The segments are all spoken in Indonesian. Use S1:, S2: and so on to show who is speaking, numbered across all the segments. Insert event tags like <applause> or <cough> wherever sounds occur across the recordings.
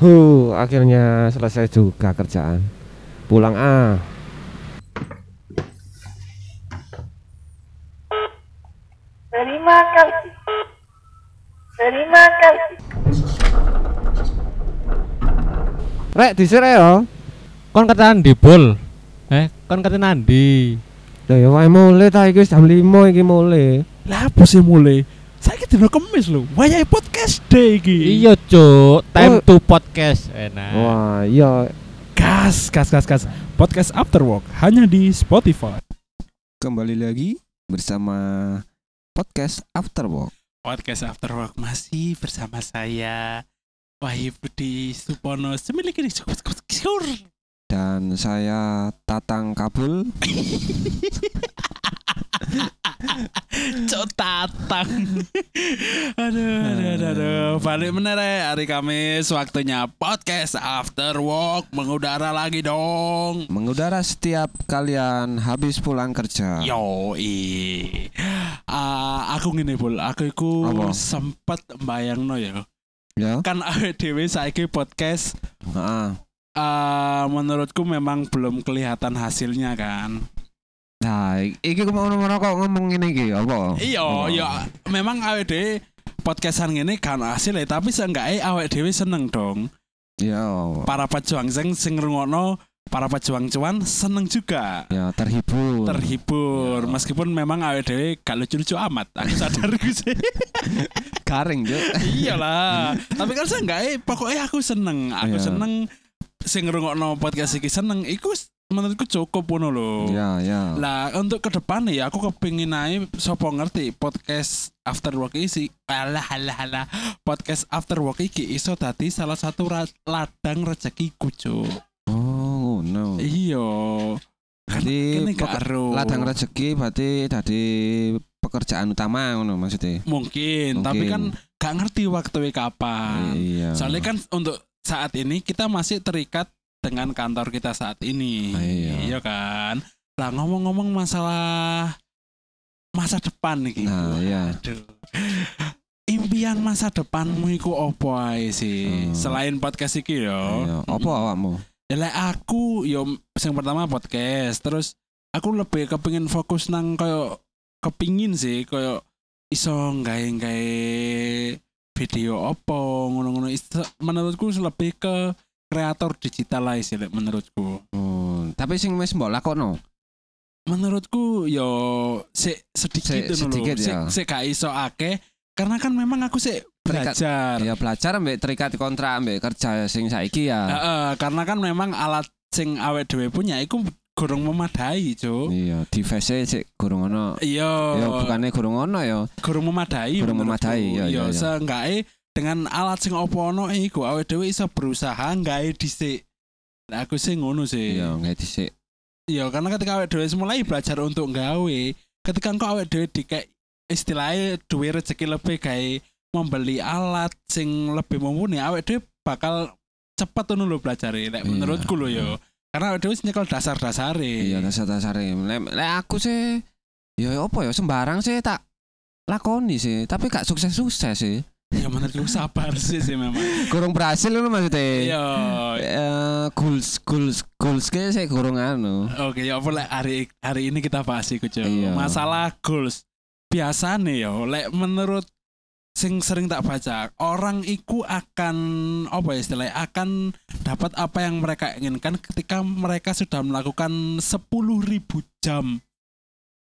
S1: Huh, akhirnya selesai juga kerjaan. Pulang ah.
S2: Terima kasih. Terima kasih.
S1: Rek dhisik yo.
S3: Kon katakan di bol. Eh, kon katakan Andi.
S1: Lah ya wae mule ta iki wis jam 5 iki mule.
S4: Lah apa sih mulai? Saiki dina Kamis lho, wayahe podcast day iki.
S3: Iya,
S1: Oh.
S3: Cuk. Time to podcast. Eh, Enak.
S1: Wah, iya
S4: Gas, gas, gas, gas. Podcast After Work hanya di Spotify.
S5: Kembali lagi bersama podcast After Work.
S4: Podcast After Work masih bersama saya Wahyu Budi Supono semiliki di
S5: dan saya Tatang Kabul.
S4: <laughs> Cok tatang. aduh, aduh, aduh, aduh. Balik bener ya hari Kamis waktunya podcast After Work mengudara lagi dong.
S5: Mengudara setiap kalian habis pulang kerja.
S4: Yo, Ah, aku ngene bol, aku iku
S5: Apa?
S4: sempat bayangno ya.
S5: Ya.
S4: Kan <laughs> awake dhewe saiki podcast
S5: Heeh.
S4: eh, menurutku memang belum kelihatan hasilnya kan.
S5: Nah, i- iki ku mau kok ngomong ngene iki apa? Apa?
S4: Iya, iya, memang awake dhewe podcastan ngene kan hasil ya, tapi seenggaknya awake dhewe seneng dong.
S5: Iya.
S4: para pejuang sing sing ngrungokno para pejuang cuan seneng juga
S5: Ya, terhibur.
S4: terhibur meskipun memang awet dhewe gak lucu-lucu amat aku sadar <laughs> gue sih
S5: Garing, Cuk.
S4: iyalah tapi kan saya enggak eh pokoknya aku seneng aku
S5: Iya.
S4: seneng sing ngrungokno podcast iki seneng iku s- menurutku cukup ngono lho
S5: <laughs> Ya, ya.
S4: lah untuk ke depan ya aku kepingin aja sopo ngerti podcast after work isi alah alah alah podcast after work iki iso tadi salah satu ra- ladang rezeki kucu
S5: Oh, no.
S4: Iya.
S5: Jadi
S4: Kene
S5: peker-
S4: gak ero.
S5: ladang rezeki berarti tadi pekerjaan utama ngono maksudnya.
S4: Mungkin, tapi
S5: Mungkin.
S4: kan gak ngerti waktu e kapan.
S5: Iya.
S4: Ah. Soalnya kan untuk saat ini kita masih terikat dengan kantor kita saat ini.
S5: Ah, iya.
S4: kan? Lah ngomong-ngomong masalah masa depan nih
S5: Nah, iya.
S4: Aduh. Impian masa depanmu iku opo ae sih?
S5: Hmm.
S4: Selain podcast iki
S5: Iya.
S4: yo.
S5: Apa awakmu?
S4: Ya, Lek aku yo yang pertama podcast, terus aku lebih kepingin fokus nang koyo kepingin sih koyo iso gawe-gawe video opo ngono-ngono Iso- menurutku lebih ke kreator digital lah sih lek menurutku.
S5: Oh, tapi sing wis mbok lakono.
S4: Menurutku yo sik
S5: Sik-
S4: sedikit
S5: sedikit
S4: sik,
S5: ya.
S4: sik gak iso akeh karena kan memang aku sik
S5: Terikat.
S4: belajar.
S5: Ya belajar ambek terikat kontrak ambek kerja sing saiki ya.
S4: Heeh, karena kan memang alat sing awet dhewe punya iku gorong memadai, Cuk.
S5: Iya, di face sik gurung ono.
S4: Iya,
S5: Ya bukannya gurung ono ya.
S4: gurung memadai.
S5: Gurung
S4: menurutku.
S5: memadai, iya, iya, iya.
S4: seenggaknya dengan alat sing opo ono iku awake dhewe iso berusaha nggawe dhisik. Lah aku sih ngono sih.
S5: Iya, nggak dhisik.
S4: Iya, karena ketika awake dhewe mulai belajar untuk nggawe, ketika engko awake dhewe dikek istilahnya duwe rezeki lebih gawe membeli alat sing lebih mumpuni awake dhewe bakal cepet ngono lho belajare lek
S5: Iya.
S4: menurutku lho ya. Karena awake dhewe wis nyekel dasar-dasare.
S5: Iya, dasar-dasare. Lek lek aku sih ya apa ya sembarang sih tak lakoni sih, tapi gak sukses-sukses sih.
S4: Ya menurutku sabar sih sih memang.
S5: Gurung berhasil ngono maksudnya.
S4: Iya.
S5: Eh, goals goals goals ke sih gurung anu.
S4: Oke, ya apa lek hari hari ini kita bahas iku, Cuk.
S5: Iya.
S4: Masalah goals. Biasane ya lek menurut sing sering tak baca, orang iku akan apa ya istilahnya akan dapat apa yang mereka inginkan ketika mereka sudah melakukan 10.000 jam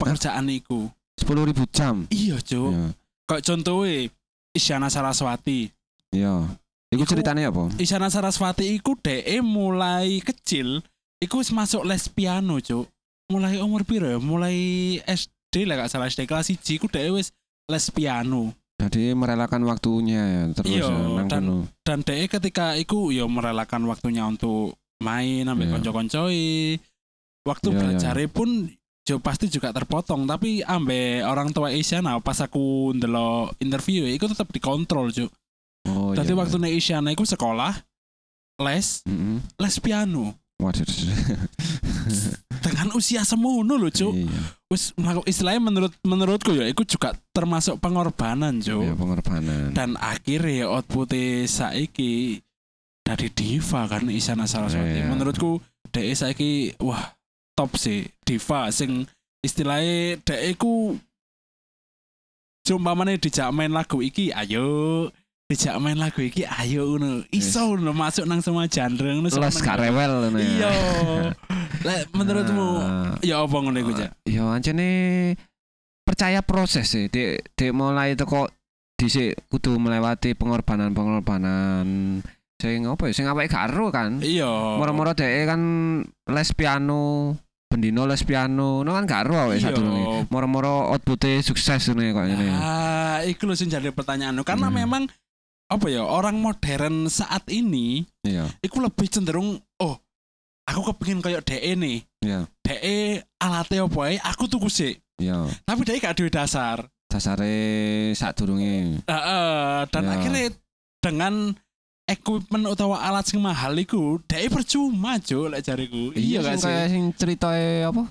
S4: pekerjaan iku.
S5: 10.000 jam.
S4: Iya, Cuk.
S5: Iya.
S4: Kayak contohnya Isyana Saraswati.
S5: Iya. Iku
S4: Iku-
S5: ceritanya apa?
S4: Isyana Saraswati iku DE mulai kecil iku wis masuk les piano cuk mulai umur piro ya mulai SD lah gak salah SD kelas 1 iku DE wis les piano
S5: Jadi merelakan waktunya ya terus
S4: Iya,
S5: ya, nang
S4: dan-
S5: kono.
S4: dan DE ketika iku ya merelakan waktunya untuk main ambek
S5: Iya.
S4: konco-koncoi waktu
S5: Iya, iya.
S4: belajar pun jo pasti juga terpotong tapi ambek orang tua Isyana pas aku ndelok interview ya, iku tetap dikontrol cuk
S5: Oh,
S4: Dadi
S5: iya, iya.
S4: waktune Isyana iku sekolah les
S5: Mm-mm.
S4: les piano
S5: Waduh.
S4: dengan usia semono loh cuk
S5: Iya,
S4: wis melaku- istilahnya menurut menurutku ya itu juga termasuk pengorbanan
S5: iya,
S4: cuk
S5: pengorbanan.
S4: dan akhirnya outputnya saiki dari diva kan Isyana Saraswati.
S5: Iya.
S4: Menurutku DE saiki wah top sih diva sing istilahnya DE ku Sumpamane dijak main lagu iki ayo dijak main lagu iki ayo ngono iso ngono masuk nang semua genre ngono
S5: Los
S4: seneng.
S5: gak rewel ngono ya. <laughs>
S4: Iya. Lek menurutmu
S5: Nah,
S4: ya apa ngono iku, Cak?
S5: Ya ancene percaya proses sih. Dek dek mulai teko dhisik kudu melewati pengorbanan-pengorbanan sing apa ya sing awake gak ero kan.
S4: Iya.
S5: Oh, Moro-moro dhek eh, kan les piano, bendino les piano, no kan gak ero awake
S4: Iya.
S5: sadurunge. Moro-moro outpute sukses ngene kok ngene.
S4: Ah, iku lho sing jadi pertanyaan karena
S5: Hmm.
S4: memang apa ya orang modern saat ini
S5: Iya.
S4: iku lebih cenderung oh aku kepengin kayak DE nih.
S5: Iya.
S4: DE alate apa ae aku tuku sih.
S5: Iya.
S4: Tapi DE gak duwe dasar.
S5: Dasare sadurunge.
S4: Heeh, dan
S5: Ya.
S4: akhirnya dengan equipment utawa alat sing mahal iku DE percuma jo lek jariku.
S5: Iya
S4: gak
S5: kan
S4: sih?
S5: kayak sing ceritanya apa?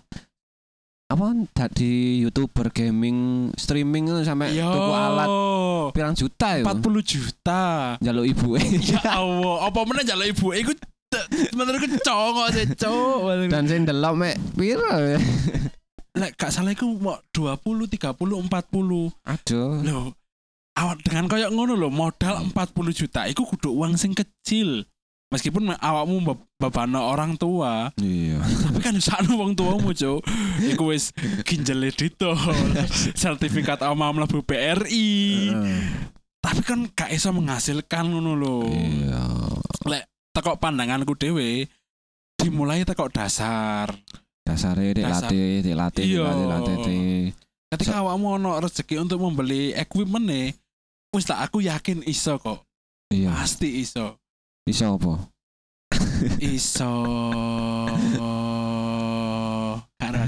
S5: Apa tadi YouTuber gaming streaming ngono sampe
S4: Yo.
S5: tuku alat pirang juta yo.
S4: 40 juta.
S5: Jaluk
S4: <laughs>
S5: ibuke.
S4: ya Allah, apa meneh jalan ibu iku te- menurutku congok sih, cok.
S5: Dan sing delok mek pira?
S4: Lek gak salah iku mok 20, 30, 40.
S5: Aduh.
S4: Loh, awak dengan koyok ngono loh, modal 40 juta iku kudu uang sing kecil. Meskipun me- awakmu be- bebano orang tua,
S5: Iya.
S4: tapi kan sakno wong tuamu, Cuk. Iku wis
S5: <laughs>
S4: ginjele ditol, sertifikat oma mlebu BRI. Tapi kan gak iso menghasilkan ngono loh.
S5: Iya.
S4: tekok pandanganku dhewe dimulai tekok dasar.
S5: Dasare dik
S4: Dasar.
S5: latih, dik latih, dik
S4: Iya.
S5: latih, latih, dik.
S4: Ketika awakmu ono rezeki untuk membeli equipment e, wis tak aku yakin iso kok.
S5: Iya.
S4: Pasti iso.
S5: Iso
S4: <laughs>
S5: apa?
S4: Iso. <laughs> Karena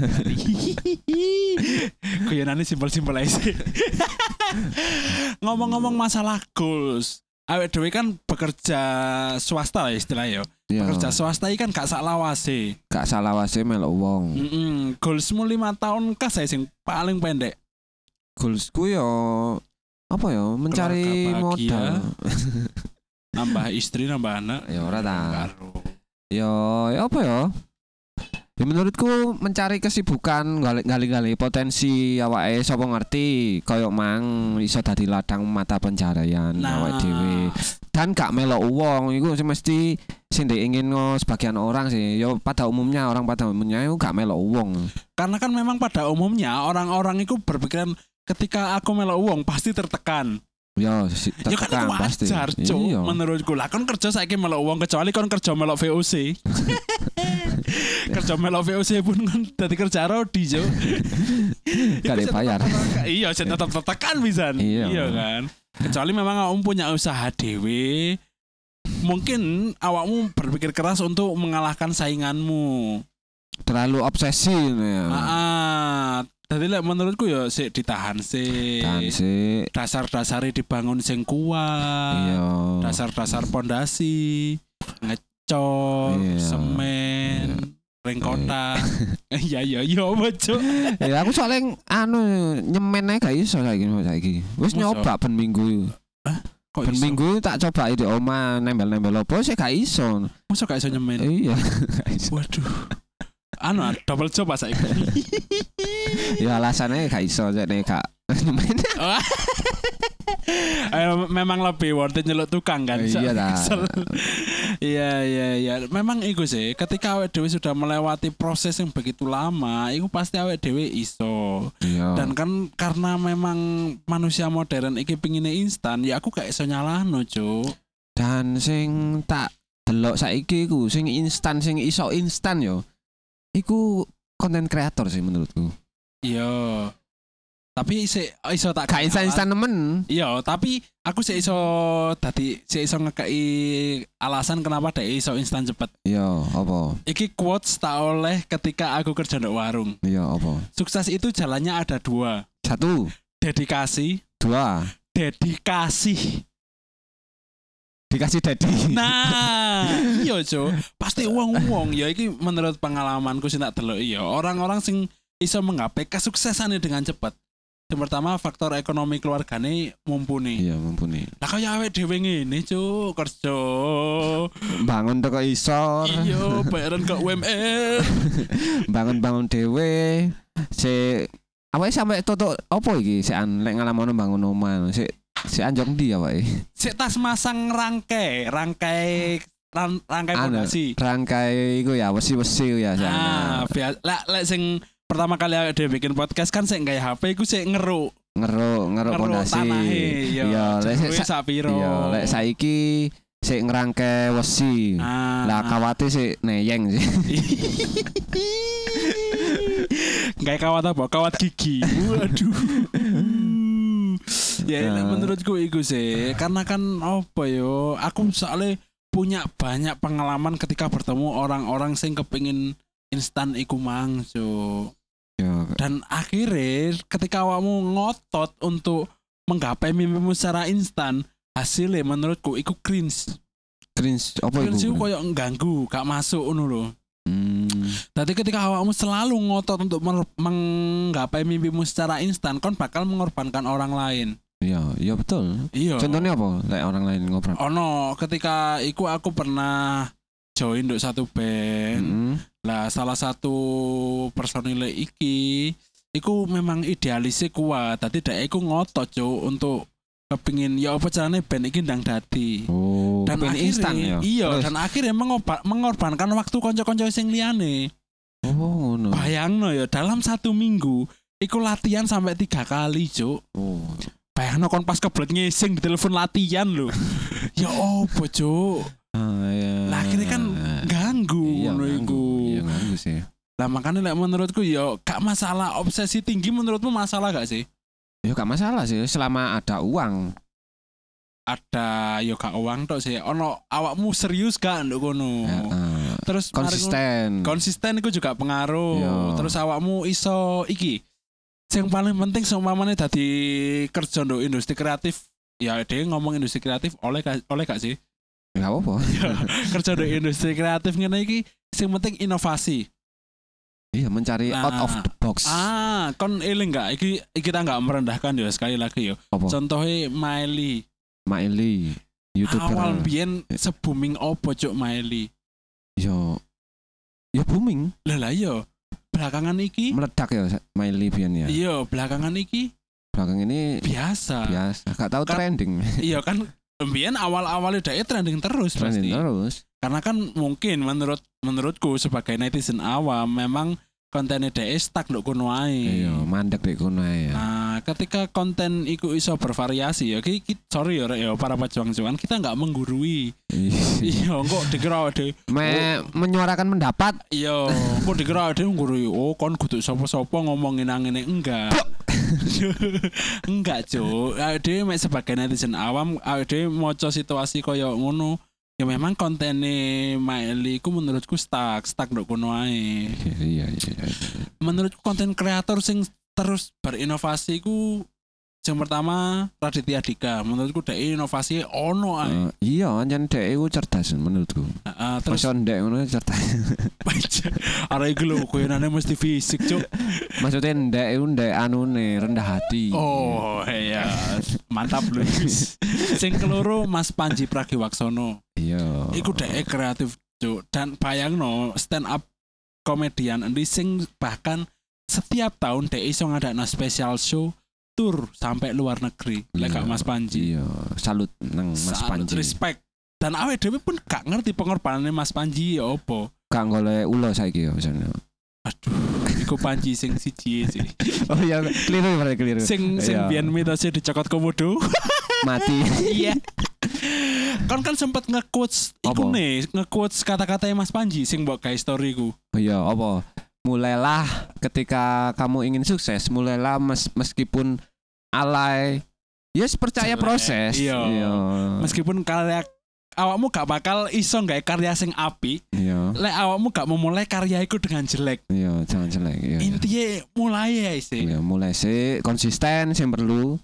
S4: kuyonane simpel-simpel ae sih. <laughs> Ngomong-ngomong masalah goals. Awet dhewe kan bekerja swasta lah istilahnya yo.
S5: Iya.
S4: Bekerja swasta iki kan gak sak lawase.
S5: Gak salah wase melok wong.
S4: Mm Goalsmu lima tahun kah saya sing paling pendek.
S5: Goalsku yo apa yo mencari
S4: Keluarga bahagia.
S5: modal.
S4: Nambah istri, nambah anak.
S5: Ya, ora ta.
S4: Karo.
S5: Ya, ya apa ya? Ya menurutku mencari kesibukan gali- gali-gali potensi awake sapa ngerti koyo mang iso dadi ladang mata pencaharian awake dhewe dan gak melok uang iku sing mesti sing diinginno sebagian orang sih ya pada umumnya orang pada umumnya itu gak melok uang
S4: Karena kan memang pada umumnya orang-orang itu berpikiran ketika aku melok uang pasti tertekan.
S5: ya si-
S4: ya kan
S5: tertekan
S4: itu
S5: pasti
S4: wajar, Cuk.
S5: Iya.
S4: Menurutku lah kon kerja saiki melok uang kecuali kon kerja melok
S5: <laughs>
S4: VOC. kerja melok VOC pun kan dadi kerja rodi, Cuk.
S5: <laughs>
S4: Iku
S5: Gak dibayar.
S4: tetep- Iya, sing tetep tertekan pisan.
S5: Iya.
S4: kan. Kecuali memang awakmu punya usaha dhewe, mungkin awakmu berpikir keras untuk mengalahkan sainganmu.
S5: <laughs> terlalu obsesi ini ya.
S4: Heeh. Ah, Dadi lek menurutku ya sik ditahan sih.
S5: kan sih
S4: Dasar-dasare dibangun sing kuat.
S5: iya
S4: Dasar-dasar pondasi, ngecor,
S5: Iya.
S4: semen, ring kota. Iya <laughs> iya iya bocok.
S5: ya aku soalnya anu nyemen ae gak iso saiki saiki. Wis
S4: Masa?
S5: nyoba ben minggu.
S4: Kok
S5: Ben
S4: iso?
S5: minggu tak coba di oma nembel-nembel opo sih gak iso.
S4: Masa gak iso nyemen?
S5: Iya. <laughs>
S4: Waduh. Anu ah, double job pas saiki.
S5: ya alasannya gak iso jadi gak <laughs> nyemen.
S4: <laughs> Eh, memang lebih worth it nyeluk tukang kan.
S5: Iya ta.
S4: Sel- <laughs> Iya iya iya. Memang iku sih ketika awet dewi sudah melewati proses yang begitu lama, itu pasti awet dewi iso.
S5: Iya.
S4: Dan kan karena memang manusia modern iki pinginnya instan, ya aku gak iso nyalahno, Cuk.
S5: Dan sing tak delok saiki ku sing instan sing iso instan yo. Iku konten kreator sih menurutku.
S4: Iya. Tapi si, iso tak
S5: Gak instan-instan nemen.
S4: Iya, tapi aku sih iso tadi sih iso ngekei alasan kenapa dia iso instan cepet.
S5: Iya, apa?
S4: Iki quotes tak oleh ketika aku kerja di warung.
S5: Iya, apa?
S4: Sukses itu jalannya ada dua,
S5: Satu,
S4: dedikasi
S5: dua,
S4: dedikasi.
S5: dikasih daddy. <laughs>
S4: Nah, iya Jo, pasti uang-uang ya iki menurut pengalamanku sih tak delok iya, orang-orang sing iso menggapai kesuksesannya dengan cepat Yang pertama faktor ekonomi keluargane mumpuni.
S5: Iya mumpuni.
S4: Lah kaya awake dhewe ngene, Cuk, kerja.
S5: Bangun teko isor,
S4: Iya, bayaran ke UMR.
S5: <laughs> bangun-bangun dhewe. Se awake sampe tutuk opo iki? Sik an lek ngalamono bangun omah. Sik sik anjong ndi awake?
S4: Sik tas masang rangkai, rangkai ran, rangkai
S5: Anu,
S4: pondasi.
S5: Rangkai iku ya wesi-wesi ya sik.
S4: Ah,
S5: ana.
S4: biasa. Lah lek sing pertama kali awake dhewe bikin podcast kan sik nggawe HP iku sik ngeruk,
S5: Ngeruk, ngeruk pondasi.
S4: tanahe. e, Iya,
S5: Iya, lek sik
S4: Kuwi
S5: sa-
S4: sapiro.
S5: iya, lek saiki sik ngrangkai wesi.
S4: Ah.
S5: Lah
S4: <laughs>
S5: kawate sik neyeng sih. <laughs>
S4: Kayak kawat apa? Kawat gigi. Waduh. ya ini
S5: Nah.
S4: menurutku itu sih karena kan apa yo aku soalnya punya banyak pengalaman ketika bertemu orang-orang sing kepingin instan iku mang so
S5: Yo,
S4: dan akhirnya ketika awakmu ngotot untuk menggapai mimpimu secara instan hasilnya menurutku iku cringe
S5: cringe opo iku?
S4: cringe itu koyo ngganggu gak masuk ngono lho
S5: Hmm.
S4: Tadi ketika awakmu selalu ngotot untuk mer- menggapai mimpimu secara instan, kon bakal mengorbankan orang lain.
S5: Iya, iya betul.
S4: Iya.
S5: Contohnya apa? Lek orang lain
S4: Oh,
S5: ngobrol.
S4: Ono, ketika iku aku pernah join untuk satu band.
S5: Mm-mm.
S4: Lah salah satu personil iki iku memang idealisnya kuat. Tadi dek iku ngotot, Cuk, untuk kepingin ya apa carane band iki ndang dadi.
S5: Oh,
S4: Dan
S5: kepengen
S4: akhirnya,
S5: instan ya.
S4: iya,
S5: Terus?
S4: dan akhirnya mengoba- mengorbankan waktu konco-konco sing liyane.
S5: oh, ngono.
S4: Bayangno ya dalam satu minggu iku latihan sampai tiga kali, Cuk.
S5: Oh.
S4: Bayangno kon pas kebelet ngising di telepon latihan
S5: <laughs>
S4: lho. ya opo, Cuk?
S5: Ah, iya.
S4: Lah akhirnya kan ganggu
S5: Eh. iya,
S4: ngono
S5: nganggu.
S4: iku.
S5: Iya, nganggu sih.
S4: Lah makanya lek menurutku ya gak masalah obsesi tinggi menurutmu masalah gak sih?
S5: Ya gak masalah sih selama ada uang.
S4: Oh. Ada ya gak uang tok sih. Ono awakmu serius gak nduk kono?
S5: Ya, ah.
S4: Terus mari ngono-
S5: konsisten.
S4: konsisten itu juga pengaruh
S5: Iya.
S4: terus awakmu iso iki yang paling penting seumpamane tadi kerja untuk industri kreatif ya dia ngomong industri kreatif oleh ga- oleh gak sih <laughs>
S5: Gak apa-apa.
S4: kerja untuk industri kreatif ngene iki sing penting inovasi
S5: Iya, mencari
S4: Nah.
S5: out of the box.
S4: ah kon eling nggak iki kita nggak merendahkan ya sekali lagi ya
S5: Apa?
S4: contohnya Miley
S5: Maeli, YouTuber.
S4: awal biyen se booming opo cuk Miley
S5: Yo. Ya booming,
S4: lah lah yo belakangan iki
S5: meledak ya Maeli biyen ya.
S4: iya belakangan iki
S5: Belakang ini
S4: biasa
S5: biasa, gak tahu
S4: Kan-
S5: trending.
S4: Iya kan Mbien awal-awalnya dia e trending terus
S5: Trending
S4: pasti.
S5: terus.
S4: Karena kan mungkin menurut menurutku sebagai netizen awam memang kontennya dia e stuck nduk kono ae.
S5: Iya, mandek dek kono ae ya.
S4: Nah, ketika konten iku iso bervariasi ya, ki, ki- sorry ya, Rek, ya para pejuang cuan kita nggak menggurui. Iya, Oh. kok dikira ade,
S5: Me menyuarakan pendapat
S4: iya, kok dikira ade menggurui. Oh, kon kudu sapa-sapa ngomongin nang ngene enggak. <laughs> enggak, Cuk. Ade mek sebagai netizen awam, ade maca situasi koyo ngono. Ya memang kontennya Maeli ku menurutku stuck, stuck ndok kono ae.
S5: iya iya iya.
S4: Menurutku konten kreator sing terus berinovasi ku yang pertama Raditya Dika menurutku dek inovasi ono ae.
S5: Eh, iya anjen dek iku cerdas menurutku
S4: Heeh, terus
S5: masa dek ngono
S4: <laughs>
S5: cerdas
S4: arek iku lho kuyonane mesti fisik, Cuk.
S5: maksudnya dek iku dek anune rendah hati
S4: Oh, iya. Mantap
S5: <laughs>
S4: lho. sing keloro Mas Panji Pragiwaksono.
S5: iya
S4: Iku dhek kreatif cuk. Dan bayangno stand up komedian endi sing bahkan setiap tahun dhek iso ngadakno special show tour sampai luar negeri. Lek gak
S5: Iya,
S4: Mas Panji.
S5: iya salut nang Mas
S4: Saat
S5: Panji
S4: Respect. Dan awet dhewe pun gak ngerti pengorbanannya Mas Panji ya opo.
S5: gak golek ulo saiki ya misalnya
S4: Aduh, iku Panji sing siji
S5: <laughs>
S4: sih.
S5: oh iya keliru berarti keliru
S4: Sing sing
S5: Iya.
S4: biyen mitosnya dicokot komodo.
S5: mati
S4: Iya. Kon kan sempat nge-quotes iku
S5: Apa?
S4: nih, nge-quotes kata-kata Mas Panji sing mbok gawe story ku.
S5: Oh iya apa mulailah ketika kamu ingin sukses mulailah mes- meskipun alay yes percaya
S4: Jelek.
S5: proses
S4: Iya. Meskipun karya awakmu gak bakal iso gawe karya sing api,
S5: iya
S4: lek awakmu gak memulai karya iku dengan jelek.
S5: iya jangan jelek iya, iya.
S4: Intinya mulai ya sih.
S5: Ya mulai sih konsisten sih perlu.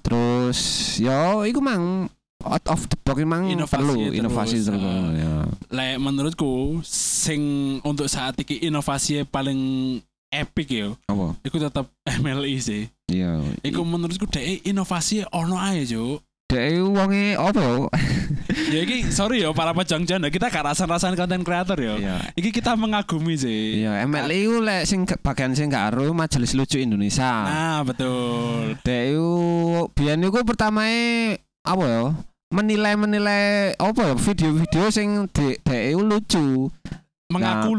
S5: Terus yo iku mang out of the box mang
S4: Inovasi
S5: perlu
S4: terus,
S5: inovasi
S4: ah.
S5: terus. ya.
S4: Lek menurutku sing untuk saat ini inovasi paling epic yo.
S5: Apa?
S4: Iku <laughs> tetap MLI sih.
S5: Iya.
S4: E, Iku menurutku dhek inovasi ono ae yo.
S5: Dek wonge apa ya?
S4: ya iki sorry yo para pejang janda kita gak rasan-rasan konten kreator yo.
S5: Iya.
S4: Iki kita mengagumi sih.
S5: Iya, MLI ku lek sing ke- bagian sing gak aru Majelis Lucu Indonesia.
S4: Nah, Ah, betul.
S5: Dek iku biyen iku pertamae apa ya? Menilai-menilai apa ya video-video sing dek dek iku lucu.
S4: Mengaku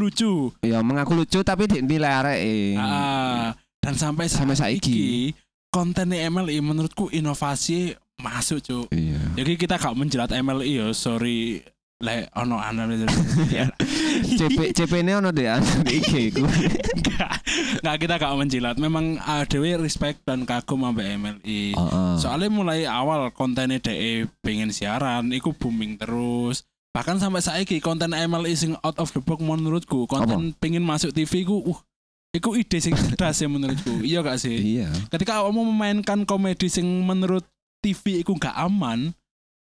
S5: Nah.
S4: lucu.
S5: Ya mengaku lucu tapi dinilai areke.
S4: Ah, dan sampai
S5: Sampai saiki.
S4: saiki konten MLI menurutku inovasi masuk, Cuk.
S5: Iya.
S4: <laughs> Jadi kita gak menjelat MLI yo, sorry. Lek
S5: <laughs>
S4: ono analisa.
S5: CP CP ini ono dek anu
S4: <laughs>
S5: IG ku.
S4: Enggak, enggak kita gak menjilat. Memang uh, Dewi respect dan kagum sama MLI.
S5: Heeh.
S4: Soalnya mulai awal kontennya DE pengen siaran, iku booming terus. Bahkan sampai saiki konten MLI sing out of the box menurutku, konten pengen masuk TV ku uh iku ide sing cerdas ya
S5: <laughs>
S4: menurutku. Iya gak sih?
S5: Iya.
S4: Ketika kamu memainkan komedi sing menurut TV iku gak aman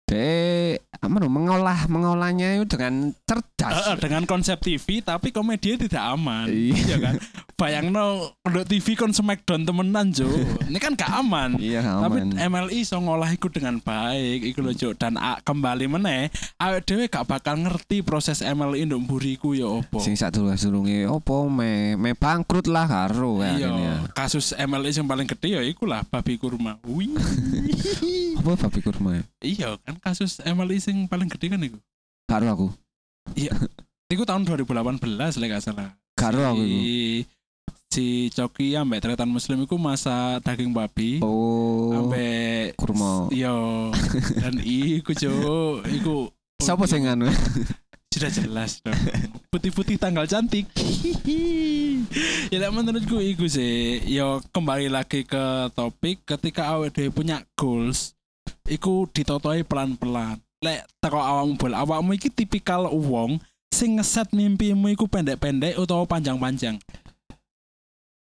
S5: Dek apa no, mengolah mengolahnya itu dengan
S4: eh, eh,
S5: cerdas.
S4: dengan konsep TV tapi komedinya tidak aman.
S5: Iya.
S4: Iya kan? Bayangno pendok TV kon smackdown temenan,
S5: <laughs>
S4: Jo. Ini kan gak aman.
S5: Iya,
S4: Tapi
S5: aman.
S4: eh, MLI iso ngolah iku dengan baik iku lho Cuk dan a- kembali meneh awake dhewe gak bakal ngerti proses MLI nduk mburiku ya opo.
S5: sing sak dulu surunge opo me me bangkrut lah karo ya ini ya.
S4: Iya, kasus MLI yang paling gede ya ikulah babi
S5: <laughs>
S4: kurmawi.
S5: apa babi kurma ya?
S4: iya, kan kasus MLI yang paling gede kan iku.
S5: karo aku
S4: Iku tahun 2018 lek gak salah.
S5: karo aku Oh, iku.
S4: Si, si Coki ambek Tretan Muslim iku masa daging babi.
S5: oh
S4: ambek
S5: kurma.
S4: Iya. Dan iku Cuk, iku
S5: siapa sing <laughs> anu
S4: sudah jelas
S5: <laughs>
S4: dong putih-putih tanggal cantik <laughs> ya lek menurutku iku sih ya kembali lagi ke topik ketika awet dhewe punya goals iku ditotoi pelan-pelan lek teko awakmu bol awakmu iki tipikal wong sing ngeset mimpimu iku pendek-pendek utawa panjang-panjang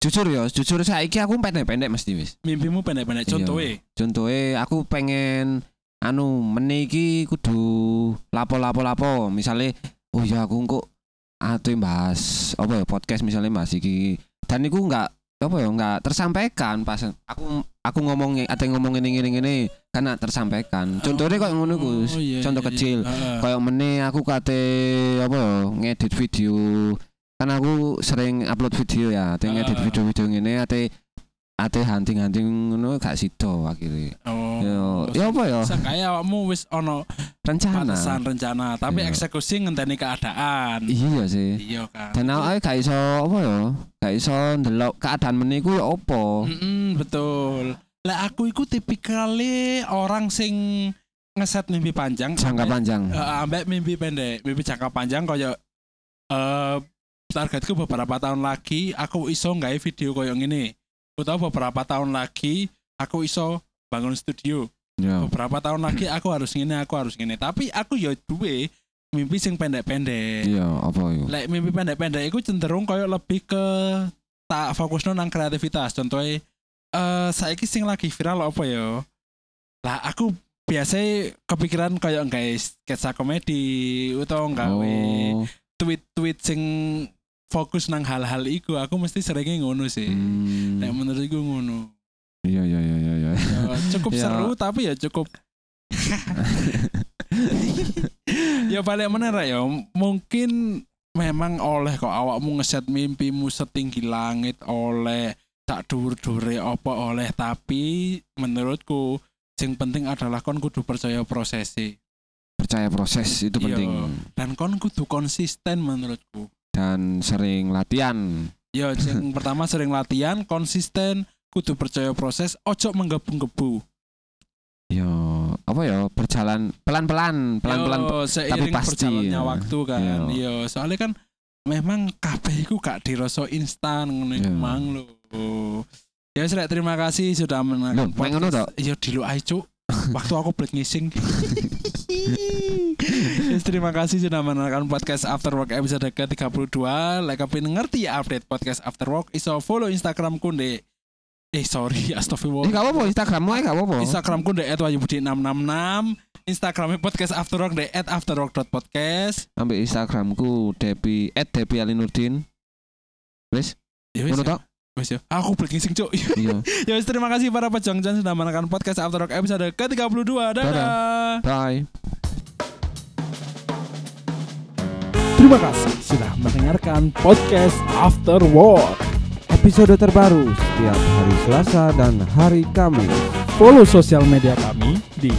S5: jujur ya jujur saiki aku pendek-pendek mesti wis
S4: mimpimu pendek-pendek
S5: Iya.
S4: contohe
S5: contohe aku pengen anu meniki kudu lapo-lapo-lapo misalnya oh ya aku kok atuh bahas apa ya podcast misalnya bahas iki dan iku nggak apa ya nggak tersampaikan pas aku aku ngomong ada yang ngomong ini ini ini karena tersampaikan contohnya kok ngono Gus.
S4: Oh, iya,
S5: contoh
S4: iya, iya.
S5: kecil
S4: Heeh.
S5: kayak meneh aku kate apa ya ngedit video kan aku sering upload video ya ate ngedit
S4: Ah.
S5: video-video ngene ate ate hunting-hunting ngono gak sido akhirnya
S4: oh
S5: yo yo apa ya
S4: Sekaya awakmu wis ono
S5: rencana
S4: batasan rencana, tapi
S5: Iya.
S4: eksekusi ngenteni keadaan.
S5: iya sih
S4: Iya kan.
S5: dan awake gak iso apa ya gak iso ndelok keadaan meneh iku ya apa
S4: Mm-mm, betul. Lah aku iku tipikalnya orang sing ngeset mimpi panjang.
S5: jangka
S4: ambek-
S5: panjang
S4: eh, ambek mimpi pendek, mimpi jangka panjang koyo eh targetku beberapa tahun lagi aku iso nggawe video koyo ngene. Utawa beberapa tahun lagi aku iso bangun studio.
S5: yo
S4: Beberapa tahun lagi aku harus ngene, aku harus ngene. Tapi aku ya duwe mimpi sing pendek-pendek.
S5: iya apa yo
S4: lek mimpi pendek-pendek itu cenderung koyo lebih ke tak fokus nang kreativitas contohnya eh saiki sing lagi viral apa ya lah aku biasanya kepikiran koyo guys sketsa komedi utawa gawe
S5: oh
S4: tweet-tweet sing fokus nang hal-hal iku aku mesti seringnya ngono sih
S5: hmm.
S4: Nek menurut iku ngono
S5: iya iya iya iya iya.
S4: Ya, <laughs> cukup
S5: Ya.
S4: seru tapi ya cukup <laughs> ya balik meneh Rek, ya mungkin memang oleh kok awakmu ngeset mimpimu setinggi langit oleh tak dur-dure apa oleh tapi menurutku sing penting adalah kon kudu percaya prosesi
S5: percaya proses itu
S4: Iya.
S5: penting
S4: dan kon kudu konsisten menurutku
S5: dan sering latihan
S4: ya sing pertama sering latihan konsisten kudu percaya proses ojo menggebu-gebu
S5: Yo, apa ya berjalan pelan-pelan, pelan-pelan. <laughs>
S4: Yo, seiring
S5: pasti, ya.
S4: berjalannya waktu kan.
S5: Yo.
S4: Yo, soalnya kan memang kabeh iku gak dirasa instan ngono iku
S5: Yo.
S4: mang lho. Ya wis Rek, terima kasih sudah
S5: Loh,
S4: menonton.
S5: main ngono tok?
S4: Ya diluai cuk. Waktu aku
S5: <laughs>
S4: pelit ngising. Yes, terima kasih sudah menonton podcast After Work episode ke-32. Lek kepengin ngerti ya, update podcast After Work iso follow Instagramku ndek Eh sorry, <laughs>
S5: Ini
S4: astagfirullah.
S5: Iya, gak apa-apa Instagrammu ae gak apa-apa.
S4: Instagramku di @wayubudi666, Instagramnya podcast Afterwork di @afterwork.podcast.
S5: Ambil Instagramku Depi @depi_alinurdin. Wis,
S6: Ya wis,
S7: Ngono tok?
S6: wis ya. Aku beli sing cuk. <laughs>
S7: Iya.
S6: ya wis terima kasih para pejuang-pejuang sudah menonton podcast After Rock episode ke-32. Dadah.
S7: Bye.
S4: Terima kasih sudah mendengarkan podcast After Work.
S5: Episode terbaru setiap hari Selasa dan hari Kamis.
S4: Follow sosial media kami di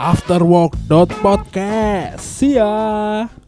S4: @afterwork.podcast. See ya.